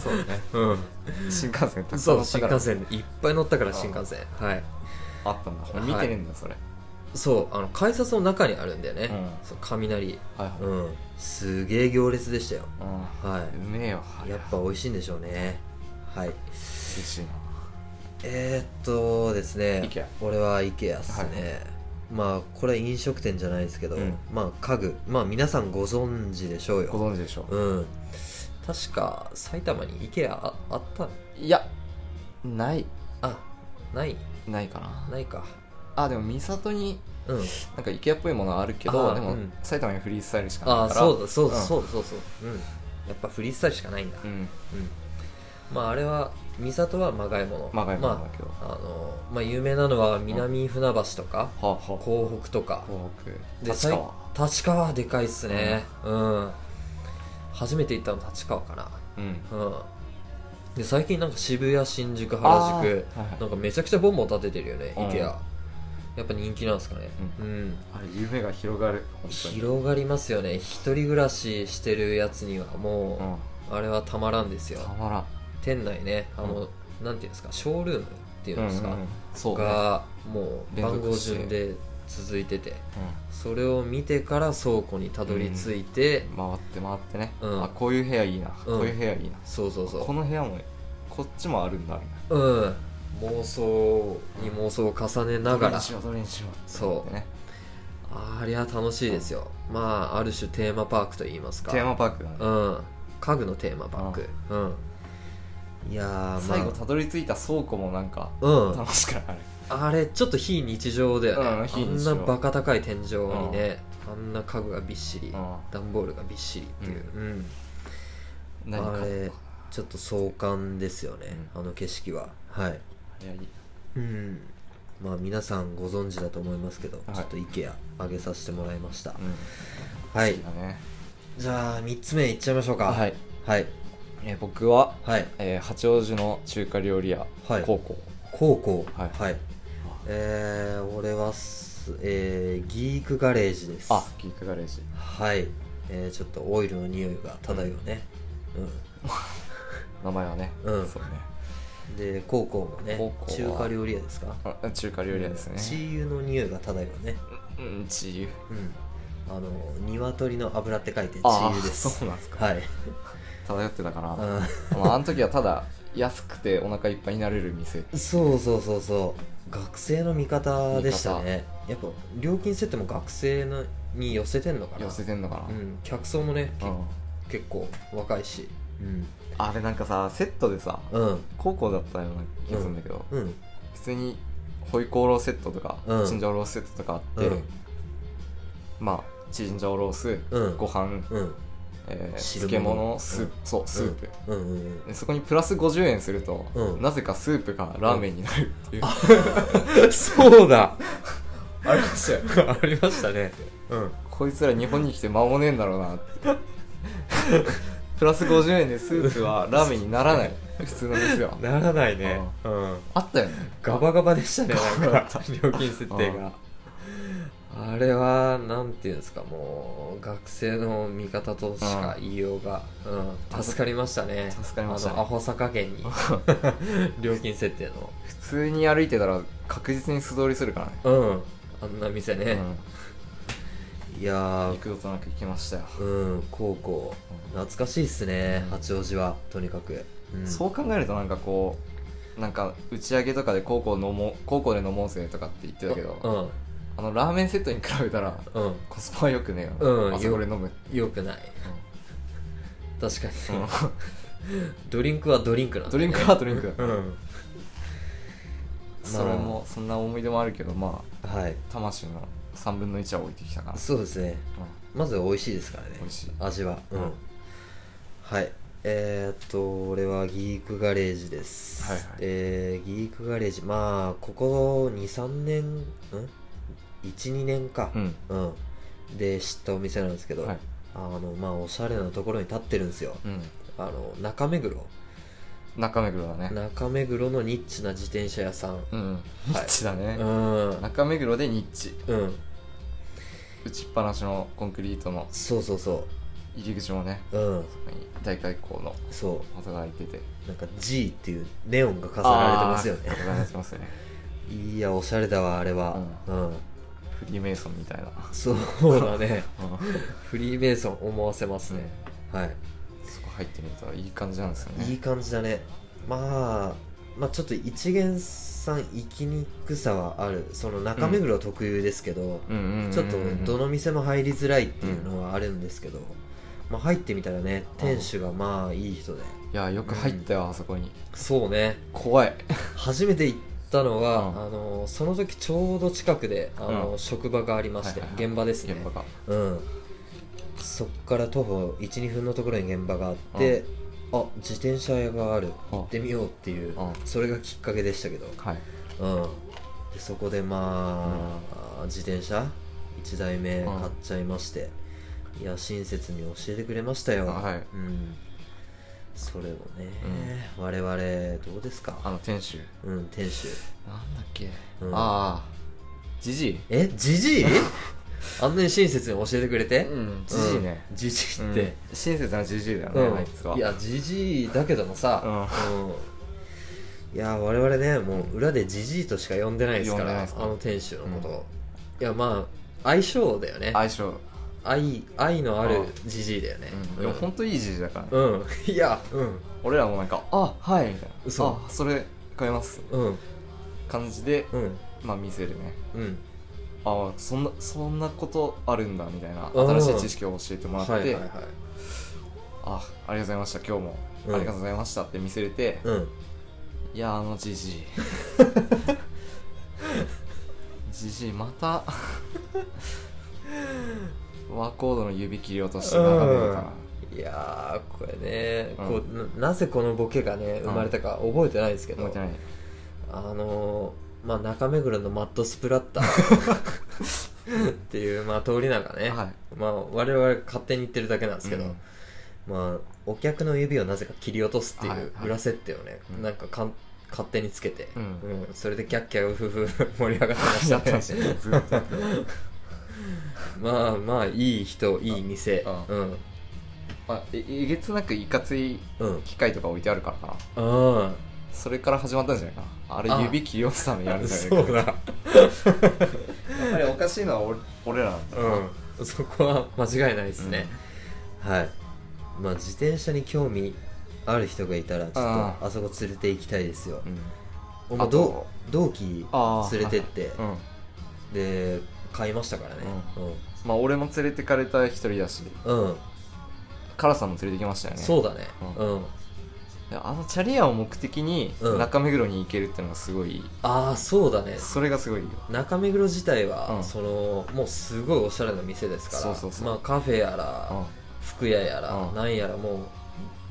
そうねう新幹線たくんさんそ乗うった新から幹線いっぱい乗ったから新幹線はいあったんだはい見てねえんだそれ、そうあの改札の中にあるんだよね、うんそう雷はいはいうんすげえ行列でしたよはうんうめえよいやっぱ美味しいんでしょうねはい嬉しいなえー、っとですね IKEA 俺は IKEA っすね、まあこれ飲食店じゃないですけど、うんまあ家具まあ皆さんご存知でしょうごよ存知でしょううん確か埼玉に IKEA ああったいやないあないないかなないかあでも三里にうんなんか IKEA っぽいものはあるけどあーでうも、ん埼玉にフリースタイルしかあなあいからそうだそうだ、うんそうだそうそううんやっぱフリースタイルしかないんだう、んまああれは美里はまがいものまあがいものまだけど、ああのまあ有名なのは南船橋とか、はあ、はあ東港北とか北立川最立川はでかいっすねうん、初めて行ったの立川かなうんうんで最近なんか渋谷新宿あ原ー宿はいはいなんかめちゃくちゃボンボン建ててるよねうん IKEA やっぱ人気なんですかねうん、あれ夢が広がる本当に広がりますよね一人暮らししてるやつにはうもんう、あれはたまらんですよたまらん店内ねあの、なんていうんですかショールームっていうんですか、うんうんそうねがもう連続番号して順で続いててそれを見てから倉庫にたどり着いて、うん回って回ってね、うんあこういう部屋いいな、うんこういう部屋いいなそうそうそこうの部屋もこっちもあるんだみたいなうん妄想に妄想を重ねながどれらにしようどれにしようそってうねありゃ楽しいですよまあある種テーマパークといいますかテーマパークだね、うん家具のテーマパークうんいやーまあ最後たどり着いた倉庫もなんかうん楽しくなる、あれちょっと非日常だよね、うん非日常あんなバカ高い天井にね、あんな家具がびっしり、段ボールがびっしりっていう、うん何かあれちょっと壮観ですよね、あの景色ははいいやいいうんまあ皆さんご存知だと思いますけど、はいちょっと IKEA 上げさせてもらいました、うんはい好きだねじゃあ3つ目いっちゃいましょうかはい、はいえー僕は、はいえー八王子の中華料理屋、はい高校高校はいえー、俺はすえー、ギークガレージですあキックガレージはい、えー、ちょっとオイルの匂いが漂うね、名前はね、うんそうねうん、で高校もね高校中は華料理屋ですかあ中華料理屋ですチねー油の匂いが漂うねうんチーユうんあの鶏の油って書いてチーああ油 ですそうなんですかはい、漂ってたかな、うんまあ、あの時はただ安くてお腹いっぱいになれる店そうそうそうそう学生の味方でしたねやっぱ料金設定も学生のに寄せてんのかな寄せてんのかうん、客層もね、けな、うん結構若いしうんあれなんかさセットでさうん高校だったような気がするんだけど、うん普通にホイコーローセットとか、うんチンジャオロースセットとかあって、うんまあチンジャオロース、うんご飯、うんえー汁漬物物スープ、そうスープ、うんうんうんでそこにプラス50円すると、うんなぜかスープがラーメンになる っていう、あ うんそうだりましたよ ありましたねうんこいつら日本に来て間もねえんだろ うなってプラス50円でスープはラーメンにならない普通の店はならないねうんあったよねガバガバでしたねガバなんか料金設定があれはなんていうんですかもう学生の味方としか言いようが、うん、助かりましたね助かりましたねあのアホさ加減 に料金設定の普通に歩いてたら確実に素通りするからねうんあんな店ね、いやうん、ー幾度となく行きましたよ、うん高校懐かしいっすね八王子はとにかく、うん、そう考えるとなんかこうなんか打ち上げとかで高校飲もう高校で飲もうぜとかって言ってたけど、あのラーメンセットに比べたらうんうんコスパはよくねえよ、うんあそこで飲むって、よくない確かうに、んね、 ドリンクはドリンクなんドだリね、ンクはドリンクだ、うんそれもそんな思い出もあるけどまあはい魂の3分の1は置いてきたかな、そうですねうまずは美味しいですからね美味しい味はうん、うんはいえー、っと俺はギークガレージですはいはいえーギークガレージまあここ23年ん12年かんうん、で知ったお店なんですけど、はいあのまあおしゃれなところに立ってるんですようん、うん、あの中目黒中目黒だね中目黒のニッチな自転車屋さんうんニッチだね、うん中目黒でニッチうん打ちっぱなしのコンクリートのそうそうそ入り口もねううん大開口のそ音が開いててうなんか G っていうネオンが飾られてますよねあー飾られてますねいやおしゃれだわあれはうん、フリーメイソンみたいな、そうだねうん フリーメイソン思わせますね、はいそこ入ってみるといい感じなんですよいねい感じだねまあまあちょっと一元さん行きにくさはあるその中目黒特有ですけど、うんうんうんうんちょっとどの店も入りづらいっていうのはあるんですけど、まあ、入ってみたらね店主がまあいい人でいやよく入ったよあそこにそうね怖い初めて行ったのは、うんあのその時ちょうど近くであの、うん職場がありまして、はいはいはい現場ですね現場がうんそっから徒歩12分のところに現場があって、あ自転車屋があるうん行ってみようっていう、うんそれがきっかけでしたけど、はいうん、でそこでまあ、自転車1台目買っちゃいまして、いや親切に教えてくれましたよ、はいうん、それをね、我々どうですあかの店主うん店主なんだっけ、うんああジジイえじ じいあんなに親切に教えてくれて、うんジジイね、うんじじういっんて、親切なジジイだよね、うんあいつはいやじじいだけどもさ、うんいや我々ねもう裏でじじいとしか呼んでないですか呼んでないらですかあの店主のこと、をいやまあ相性だよね相性、愛愛のあるうじじいだよねうん、でも本当いいジジイだからね、うん、うん、いやうん俺らもなんか「あはい」みたいな「嘘あそれ買いますうん」感じで、うんまあ店でねうんあそんなそんなことあるんだみたいなうん新しい知識を教えてもらって、はいはいはいあありがとうございました今日も、うんありがとうございましたって見せれて、うんいやあのじじいじじいまたワコードの指切り落として眺めるかいやーこれね、うんこうななぜこのボケがね生まれたか覚えてないですけらど、覚えてないあのーまあ中目黒のマットスプラッター っていう、まあ、通りなんかね、はいまあ我々勝手に言ってるだけなんですけど、うんまあお客の指をなぜか切り落とすっていはいうはい裏設定をね、うんなんかかん勝手につけて、うんうんそれでキャッキャウフ フフ盛り上がってましたやっっててま話した ねずっとやってましまあまあいい人いい店ああうんたあええげつなくいかついうん機械とか置いてあるからかなあそれから始まったんじゃないかなあれああ指切り落とすためにやるあんじゃないかそうだやっぱりおかしいのは俺俺らなんだうんそこは間違いないですね、はいまあ自転車に興味ある人がいたらちょっとあああそこ連れて行きたいですようんお前あと同同期ああ連れてって、うんで買いましたからねまあ俺も連れてかれた一人だしうん、うんカラさんも連れてきましたよねそうだねう、うんであのチャリアを目的にうん中目黒に行けるってのがすごい、ああそうだねそれがすごいよ中目黒自体は、うんそのもうすごいおしゃれな店ですからそうそうそうまあ、カフェやら、うん服屋やら、うんなんやらもう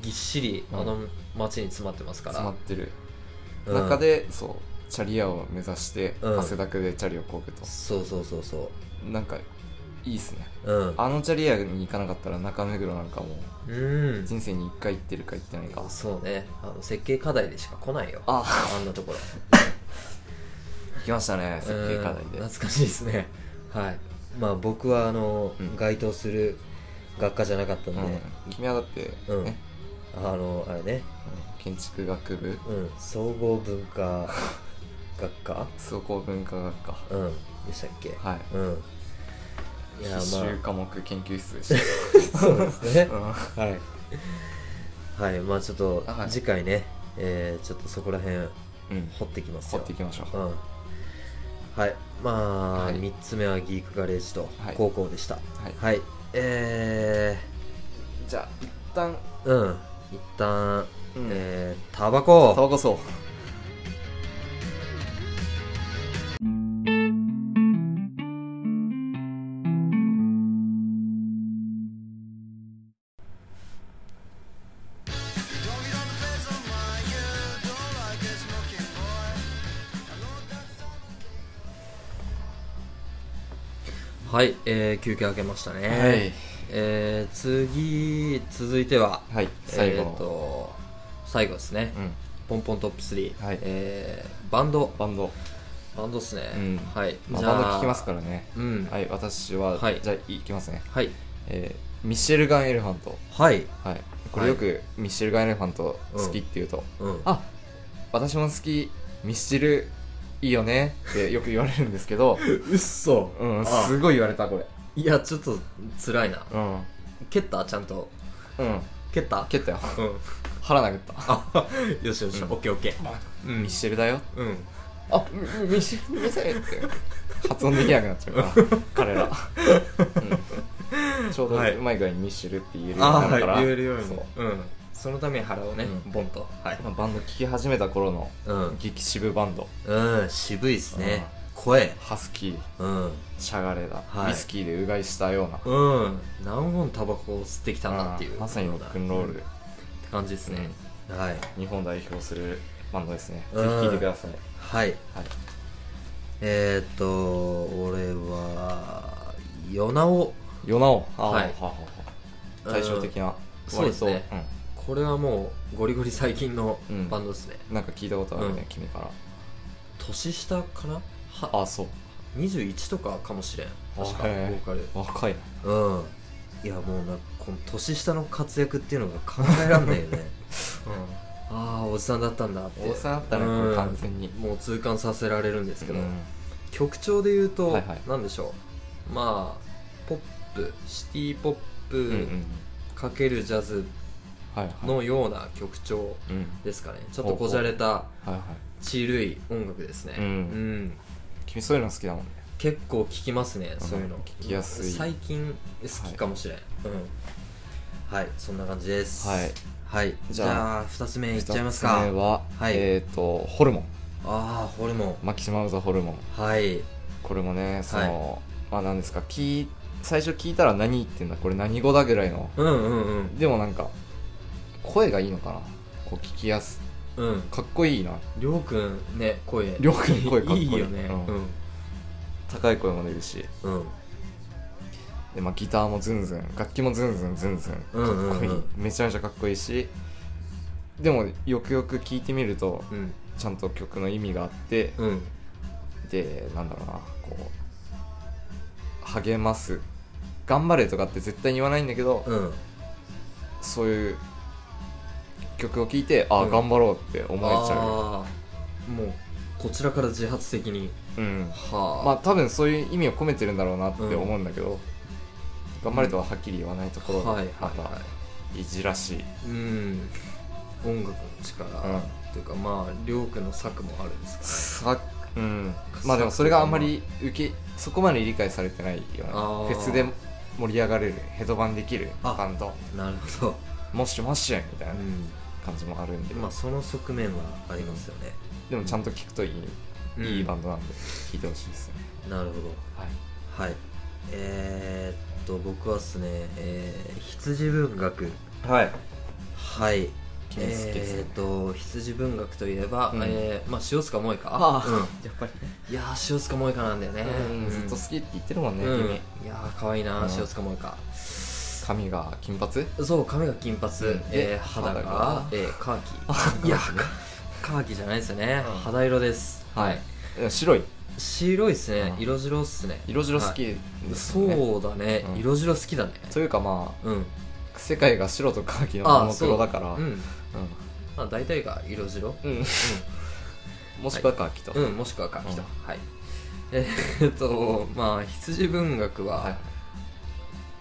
ぎっしりうんあの街に詰まってますから、詰まってる、うん中でそうチャリアを目指して、うん汗だくでチャリをこぐとそうそうそうそなんかいいっすねううんあのチャリアに行かなかったら中目黒なんかもううん人生に1回行ってるか行ってないかそうねあの設計課題でしか来ないよああんなところ行きましたね設計課題うんで懐かしいですねはいまあ僕はあの、うん該当する学科じゃなかったんで、うん、君はだって、ねうんうんあのあれね建築学部うん総合文化 学科総合文化学科うんでしたっけはいうんいや必修科目研究室でしまあそうですね た、 うんはいはいまあちょっとあはい次回ね、えーちょっとそこら辺うん、掘ってきます掘よっていきましょううんはいまあ、はい3つ目はギークガレージとはい高校でしたはい、はいえじゃあ一旦ー、うん一旦、うんえータバコタバコそうはい、えー休憩明けましたね、はいえー次続いてははい最後えー、の、と最後ですね、うん、ポンポントップ3、はいえーバンドバンド、バンドっすね、うんはい、まあ、じバゃンあド聞きますからねうんはい私は、はいじゃあいきますね、はいえーミシェルガン・エレファントはいはいこれよくミシェルガン・エレファント好きって言うと、うんあ私も好きミスチルいいよねってよく言われるんです けどうっそうんあすごい言われたこれいやちょっと辛いなうん蹴ったちゃんとうん蹴った蹴ったようん腹殴ったあよしよし、うんオッケーオッケーうんミシェルだようんあミミシェルミシェルって発音できなくなっちゃうから 彼ら、うん、ちょうどはいうまい具合にミシェルって言えるようにあなるから、はい言えるようにそううんそのために腹をね、うんボンとはいまあバンド聴き始めた頃のうん、激渋バンドうん、渋いっすね声ハスキーうんシャガレだ、はいウイスキーでうがいしたようなうん何本タバコを吸ってきたんだっていうまさにロックンロール、って感じですね、はい日本代表するバンドですね、うんぜひ聴いてください、はいはい、えー、っと俺はヨナオヨナオあーはいははは対照的なうんそうですね割これはもうゴリゴリ最近のうんバンドですね、となんか聞いたことあるね、うん君から年下かなはあそう21とかかもしれん確かボへーーカル若いうんいやもうなこの年下の活躍っていうのが考えらんないよ ねああおじさんだったんだってなおさんあったねこうれん完全にもう痛感させられるんですけど、うん曲調で言うと、はいはいなんでしょうまあポップシティポッうんうんうプんかけるジャズはいはいのような曲調うんですかね、ちょっとこじゃれたはいはいちるい音楽ですねうんん君そういうの好きだもんね結構聞きますね、うんそういうの聞きやすい最近好きかもしれん、うんはいそんな感じですはい、はいじじゃゃああ2つ目いっちゃいます二つ目かは、はいえっ、とホルモンああホルモンマキシマムザホルモンはいこれもねその、まあ何ですか聞い最初聞いたら何言ってんだこれ何語だぐらいのうんうんうんでもなんか声がいいのかなこう聞きやすうんかっこいいなりょうくんね声りょうくん声かっこいいいよねううん高い声も出るしうんで、まあ、ギターもズンズン楽器もズンズンズンズンうんうんうんかっこいいめちゃめちゃかっこいいしでもよくよく聞いてみるとうんちゃんと曲の意味があってうんでなんだろうなこう励ます頑張れとかって絶対に言わないんだけど、うんそういう曲を聴いてああ、うん頑張ろうって思えちゃあーもうこちらから自発的にううんはあまあ多分そういう意味を込めてるんだろうなって思うんだけど、頑張れとははっきり言わないところはがいまはいたはいじらしい、うん音楽の力、うんというかまありょうくんの策もあるんですさうんまあでもそれがあんまり受けそこまで理解されてないようなあーフェスで盛り上がれるヘドバンできるあバンドかなるほど、もしもしみたいなう感じもあるんで、ん、まあその側面はありますよね、でもちゃんと聞くといい、うんいいバンドなんで聞いてほしいですね、なるほはい、どはいえー、っと僕はですね、えー、羊文学はい。はい健介さんえー、っと羊文学といえば、うんえーまあ塩塚萌香ああ、うんやっぱり、いやー塩塚萌香なんだよね、うん、ずっと好きって言ってるもんね、うん、いやー可愛いな、うん塩塚萌香君。髪が金髪そう髪が金髪、うんえーえ肌が肌がえーカーキいやカカーキじゃないですよね、うん肌色ですはい。白い。白いですね、うん色白っすね色白好きはですよね。そうだね、うん色白好きだねというかまうんあ、世界が白とカーキのあモあノクそうロだから、ううん。んまあ大体が色白うん。もしくはカーキと。うんもしくはカーキと、うはい えーっとまあ羊文学は、はい。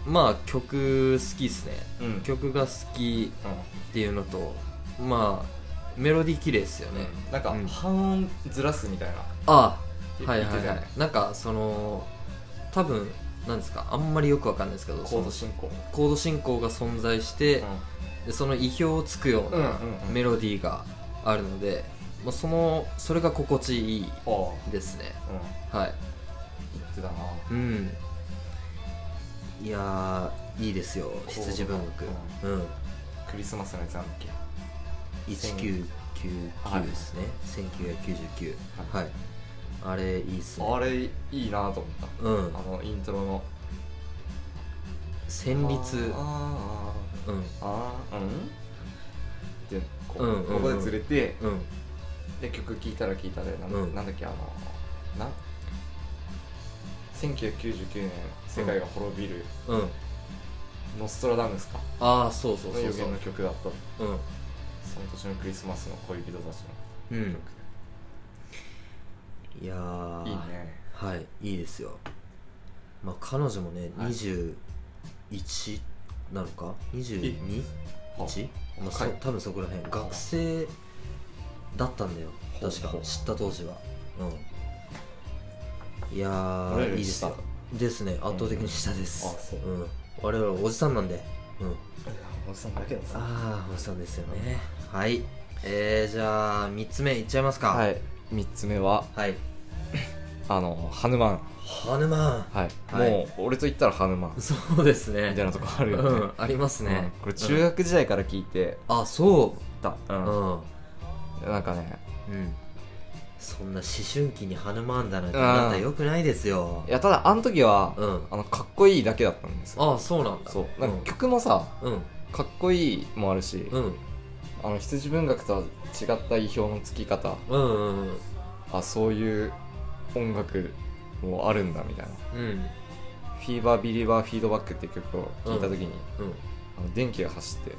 まあ曲好きっすねうん曲が好きっていうのとまあメロディー綺麗っすよね、なんかうん、半音ずらすみたいな。あ言はい言はっていたはよいね。なんかその多分なんですかあんまりよくわかんないですけどコードそ進行。のコード進行が存在して、でその意表をつくよううんなうんうんメロディーがあるので、まあ、そのそれが心地いいあですねあ。うん。はい言ってたな。うんいやーいいですよ羊文学うんクリスマスのやつなんだっけ1999ですね、1999はい、あれいいっすねあれ、いいなと思った。うんあの、イントロの。旋律あうあ。んあーうんでこう、うんうんうんここでずれてうんで曲聴いたら聴いたでなん,、うんなんだっけあのな1999年世界が滅びる、うんノストラダムスかああそうそうのそう予そう言の曲だったうんその年のクリスマスの恋人たちうのん曲、いやーいいねはいいいですよまあ彼女もね、はい21なのか 22?1? はまあ、そはい多分そこら辺学生だったんだよほう確かほう知った当時はうんいやー俺らよいいりですよですね圧倒的に下です、、あそうん我々はおじさんなんでうんおじさんだけどさああおじさんですよねはいえー、じゃあ3つ目いっちゃいますかはい3つ目ははいあのハヌマンハヌマはい、はいもう俺と言ったらハヌマンンみそうですねたいなとこあるよね、うんありますね、うんこれ中学時代から聴いてあそた、うううんん、なんかねうん、そんな思春期にハヌマンだなんてあなたよくないですよいやただあの時は、うんあのかっこいいだけだったんですよああそうなんだそうなんか曲もさ、うんかっこいいもあるし、うんあの羊文学とは違った意表のつき方うんうんうんあそういう音楽もあるんだみたいなうんうん「フィーバービリバーフィードバック」っていう曲を聴いた時に、うんあの電気が走ってあ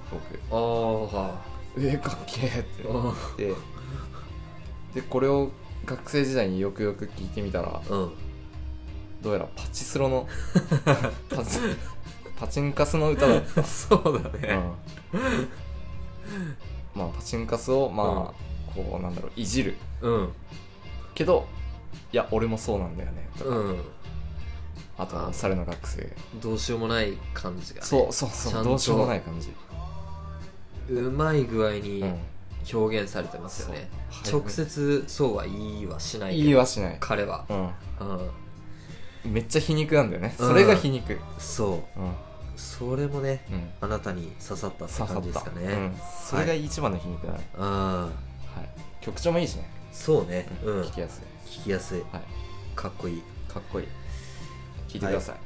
あは僕「えー、かっけえ!」ってあ思ってでこれを学生時代によくよく聴いてみたらあ うんどうやらパチス ロのパチパチンカスの歌だったそうだねまあパチンカスをまあ、こうなんだろういじるうんけどいや俺もそうなんだよねとか、うんあとおしゃれの学生どうしようもない感じがねそうそうちゃそんうとどうしようもない感じ、うまい具合にうん表現されてますよねそう直接そうは言いはしないけど言いはしない彼はうんうんめっちゃ皮肉なんだよね、うんそれが皮肉そうん、うん、うそれもねあなたに刺さったって刺さ感っじですた、かねうん、それが一番の皮肉だね、ああはい、曲調もいいしね、そうねううんん聞きやす聞きやすいい、はい、かっこいいかっこいい聞いてください、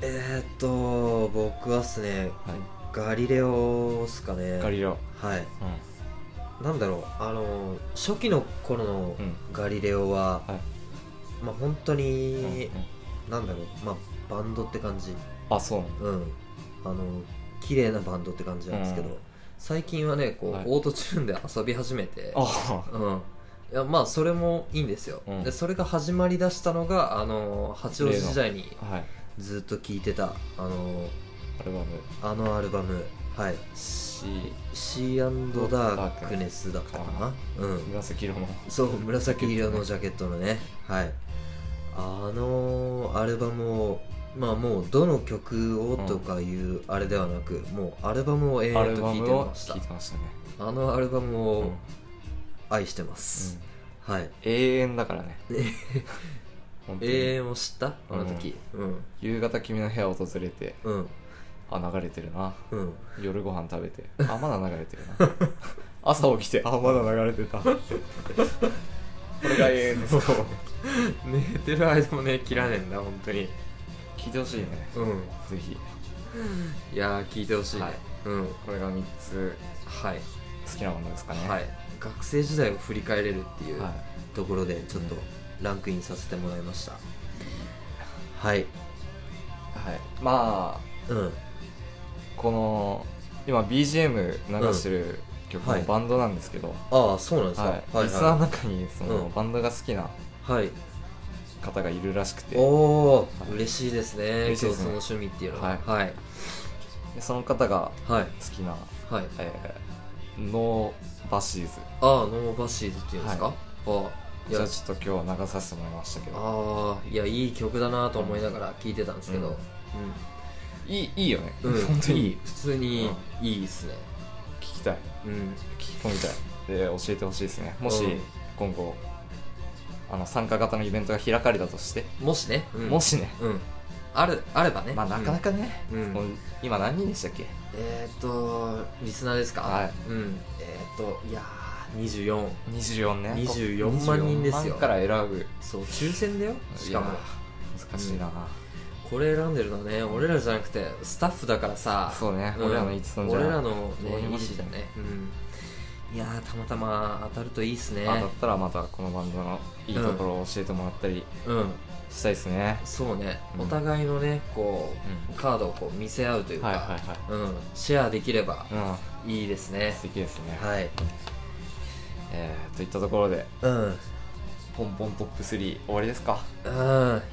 えーっと僕はっすねはいガリレオっすかねガリレオ、はいうんなんだろうあの初期の頃のうんガリレオは、はいまあ本当うんうにん、なんだろうまあバンドって感じあそうなんだうんあの綺麗なバンドって感じなんですけど、うん最近はねこう、はいオートチューンで遊び始めてあうんいやまあそれもいいんですよ、うんでそれが始まりだしたのがあの八王子時代にあはいずっと聴いてたあのアルバムあのアルバムはい「C 「シーダークネス」だったかなうん紫色の」そう紫色のジャケットのねはいあのアルバムをまあもうどの曲をとかいうあれではなく、もうアルバムを永ア遠ルとバ聴いムてをまし聴たいてましたね、あのアルバムうんをうん愛してます、はい永遠 だからね本当に永遠を知ったあの時うん夕方君の部屋を訪れてうんあ流れてるなうん 夜ご飯食べてあまだ流れてるな 朝起きてあまだ流れてたこれが永遠ですか寝てる間もね切らねえんだ本当に聞いてほしいねうんぜひいやー聞いてほしいね、はいうんこれが3つはい好きなものですかねはい学生時代を振り返れるっていう、はいところでちょっとランクインさせてもらいました、はいはいまあうんこの今 BGM 流してる曲はもいバンドなんですけど、ああそうなんですか、はいはいリスナーのは中にその、うん、バンドが好きないはい、方がいるらしくておおはい嬉しいですね嬉しいですね共通の趣味っていうのははいはいでその方がはい好きな、はいえーノーバシーズああノーバシーズっていうんですか、はいああいじゃやあちょっと今日は流させてもらいましたけどああいやいい曲だなと思いながら聴いてたんですけどいいいいよね、うん、うん本当にいい普通にいいですね聞きたいうん聞き込みたいで教えてほしいですねもし、うん今後あの参加型のイベントが開かれたとして、もしね、うんもしねうんあるあればねまあなかなかね、うんこの今何人でしたっけえーっ、とリスナーですかはいうんえーっ、といやー24 24ね24万人ですよ24万から選ぶそう抽選だよしかもいやー難しいな、これ選んでるのはね俺らじゃなくてスタッフだからさそうね、うん俺らの一存じゃ俺らのどうにねも意志だねうんいやーたまたま当たるといいっすねあだったらまたこのバンドのいいところを教えてもらったりうんしたいですね、そうね、うんお互いのねこう、うカードをこう見せ合うというか、はいはいはいうん、シェアできればうんいいですね素、敵ですね、はいえー、といったところでうんポンポントップ3終わりですかうん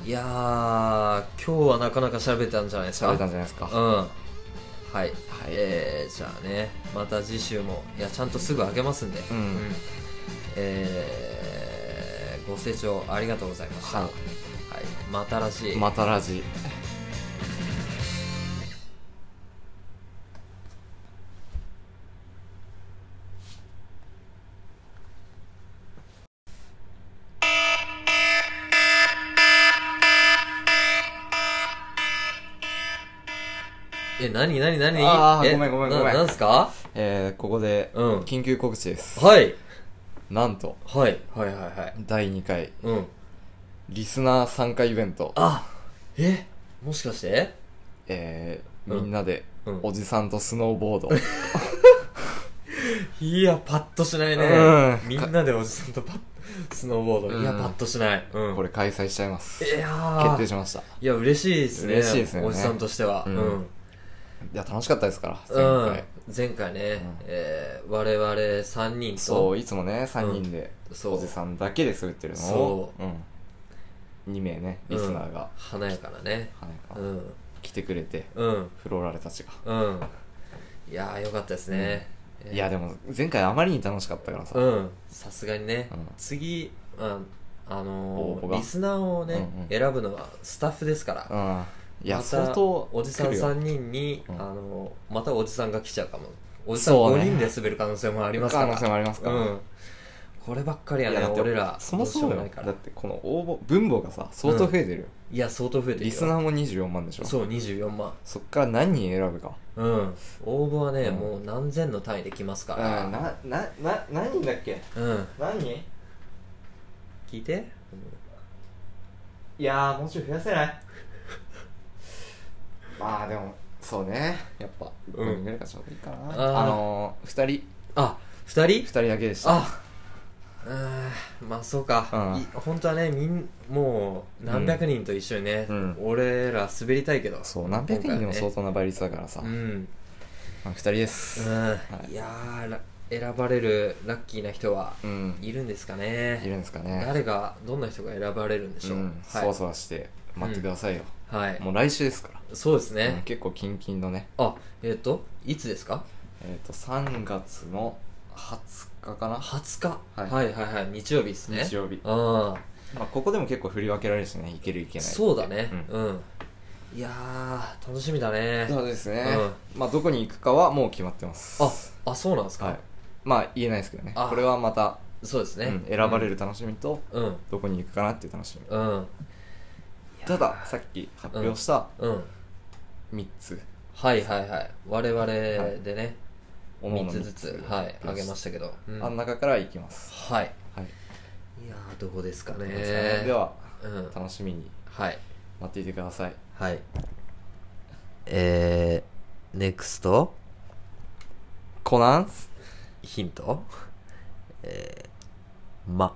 いやー今日はなかなか喋ったんじゃないです食かべたんじゃないですか、うんはい、えー、じゃあねまた次週もいやちゃんとすぐ上げますんで、うんえーご清聴ありがとうございました、はいはい、またらしいまたラジえ何何何あーえごめんごめんなごめんなんすかえー、ここでうん緊急告知です、はいなんとはいはいはいはい第2回うんリスナー参加イベントあえもしかしてえー、うんみんなで、うんおじさんとスノーボード、いやパッとしないね、うんみんなでおじさんとパッスノーボード、うんいやパッとしない、うん、これ開催しちゃいますいやー決定しましたいいや嬉しいですね嬉しいですよねおじさんとしてはううんん、うんや楽しかったですから前前回回、ね、んえー我々3人とそういつもね3人で、そうおじさんだけで滑ってるのを、そうん、2名ねリスナーが、華やかなねはいうん来てくれてうんフローラルたちが、うんいやーよかったですね、えーいやでも前回あまりに楽しかったからさ、うんさすがにね、うん次ああ応の募ーがリスナーをね、うんうん選ぶのはスタッフですから、うんいや、また相当おじさん来るよ3人に、うんあのーまたおじさんが来ちゃうかもおじさんそう5ね人で滑る可能性もありますから可能性もありますからうん、こればっかりやいねやだって俺らそもそもどうしようよないかだらってこの応募分母がさ相当増えてるよ、いや相当増えてるよリスナーも24万でしょそう24万そっから何人選ぶかうん応募はね、うんもう何千の単位できますからあななな何人だっけうん何人聞いていやーもうちょい増やせない まあでもそうねやっぱん1人ぐらいがちょうどいいかな、あーあのー、2人あ二2 2人人だけでしたあうーんまあそうか、うんい本当はねみんもう何百人と一緒にね、うん俺ら滑りたいけどそう何百人でも相今当な倍率だからさ、回はねうんまあ、2人ですうん、いい、やーら選ばれるラッキーな人はうん、いるんですかいるねんですかね誰がどんな人が選ばれるんでしうょう、んはいそわそわして待ってくださいよ、はいもう来週ですから、そうですうんね、結構キンキンのねあえっ、といつですかえっ、と3月の20日かな20日、はいはいはいはい日曜日ですね日曜日、あまあ、ここでも結構振り分けられるしねいけるいけあないそうだねうんうん、いやー楽しみだねそうですね、まあどこに行くかはもう決まってますああそうなんですか、はいまあ言えないですけどねあこれはまた、そうですね、うん選ばれる楽しみと、うんどこに行くかなっていう楽しみうんたださっき発表したうん3つ、はいはいはい我々でね、おのお三3のつ三ずつはいあげましたけど、うんあん中から行きます、はいはいいやーどこですかねではうん、楽しみにはい待っていてくださいはいえー、ネクストコナンスヒントえー、ま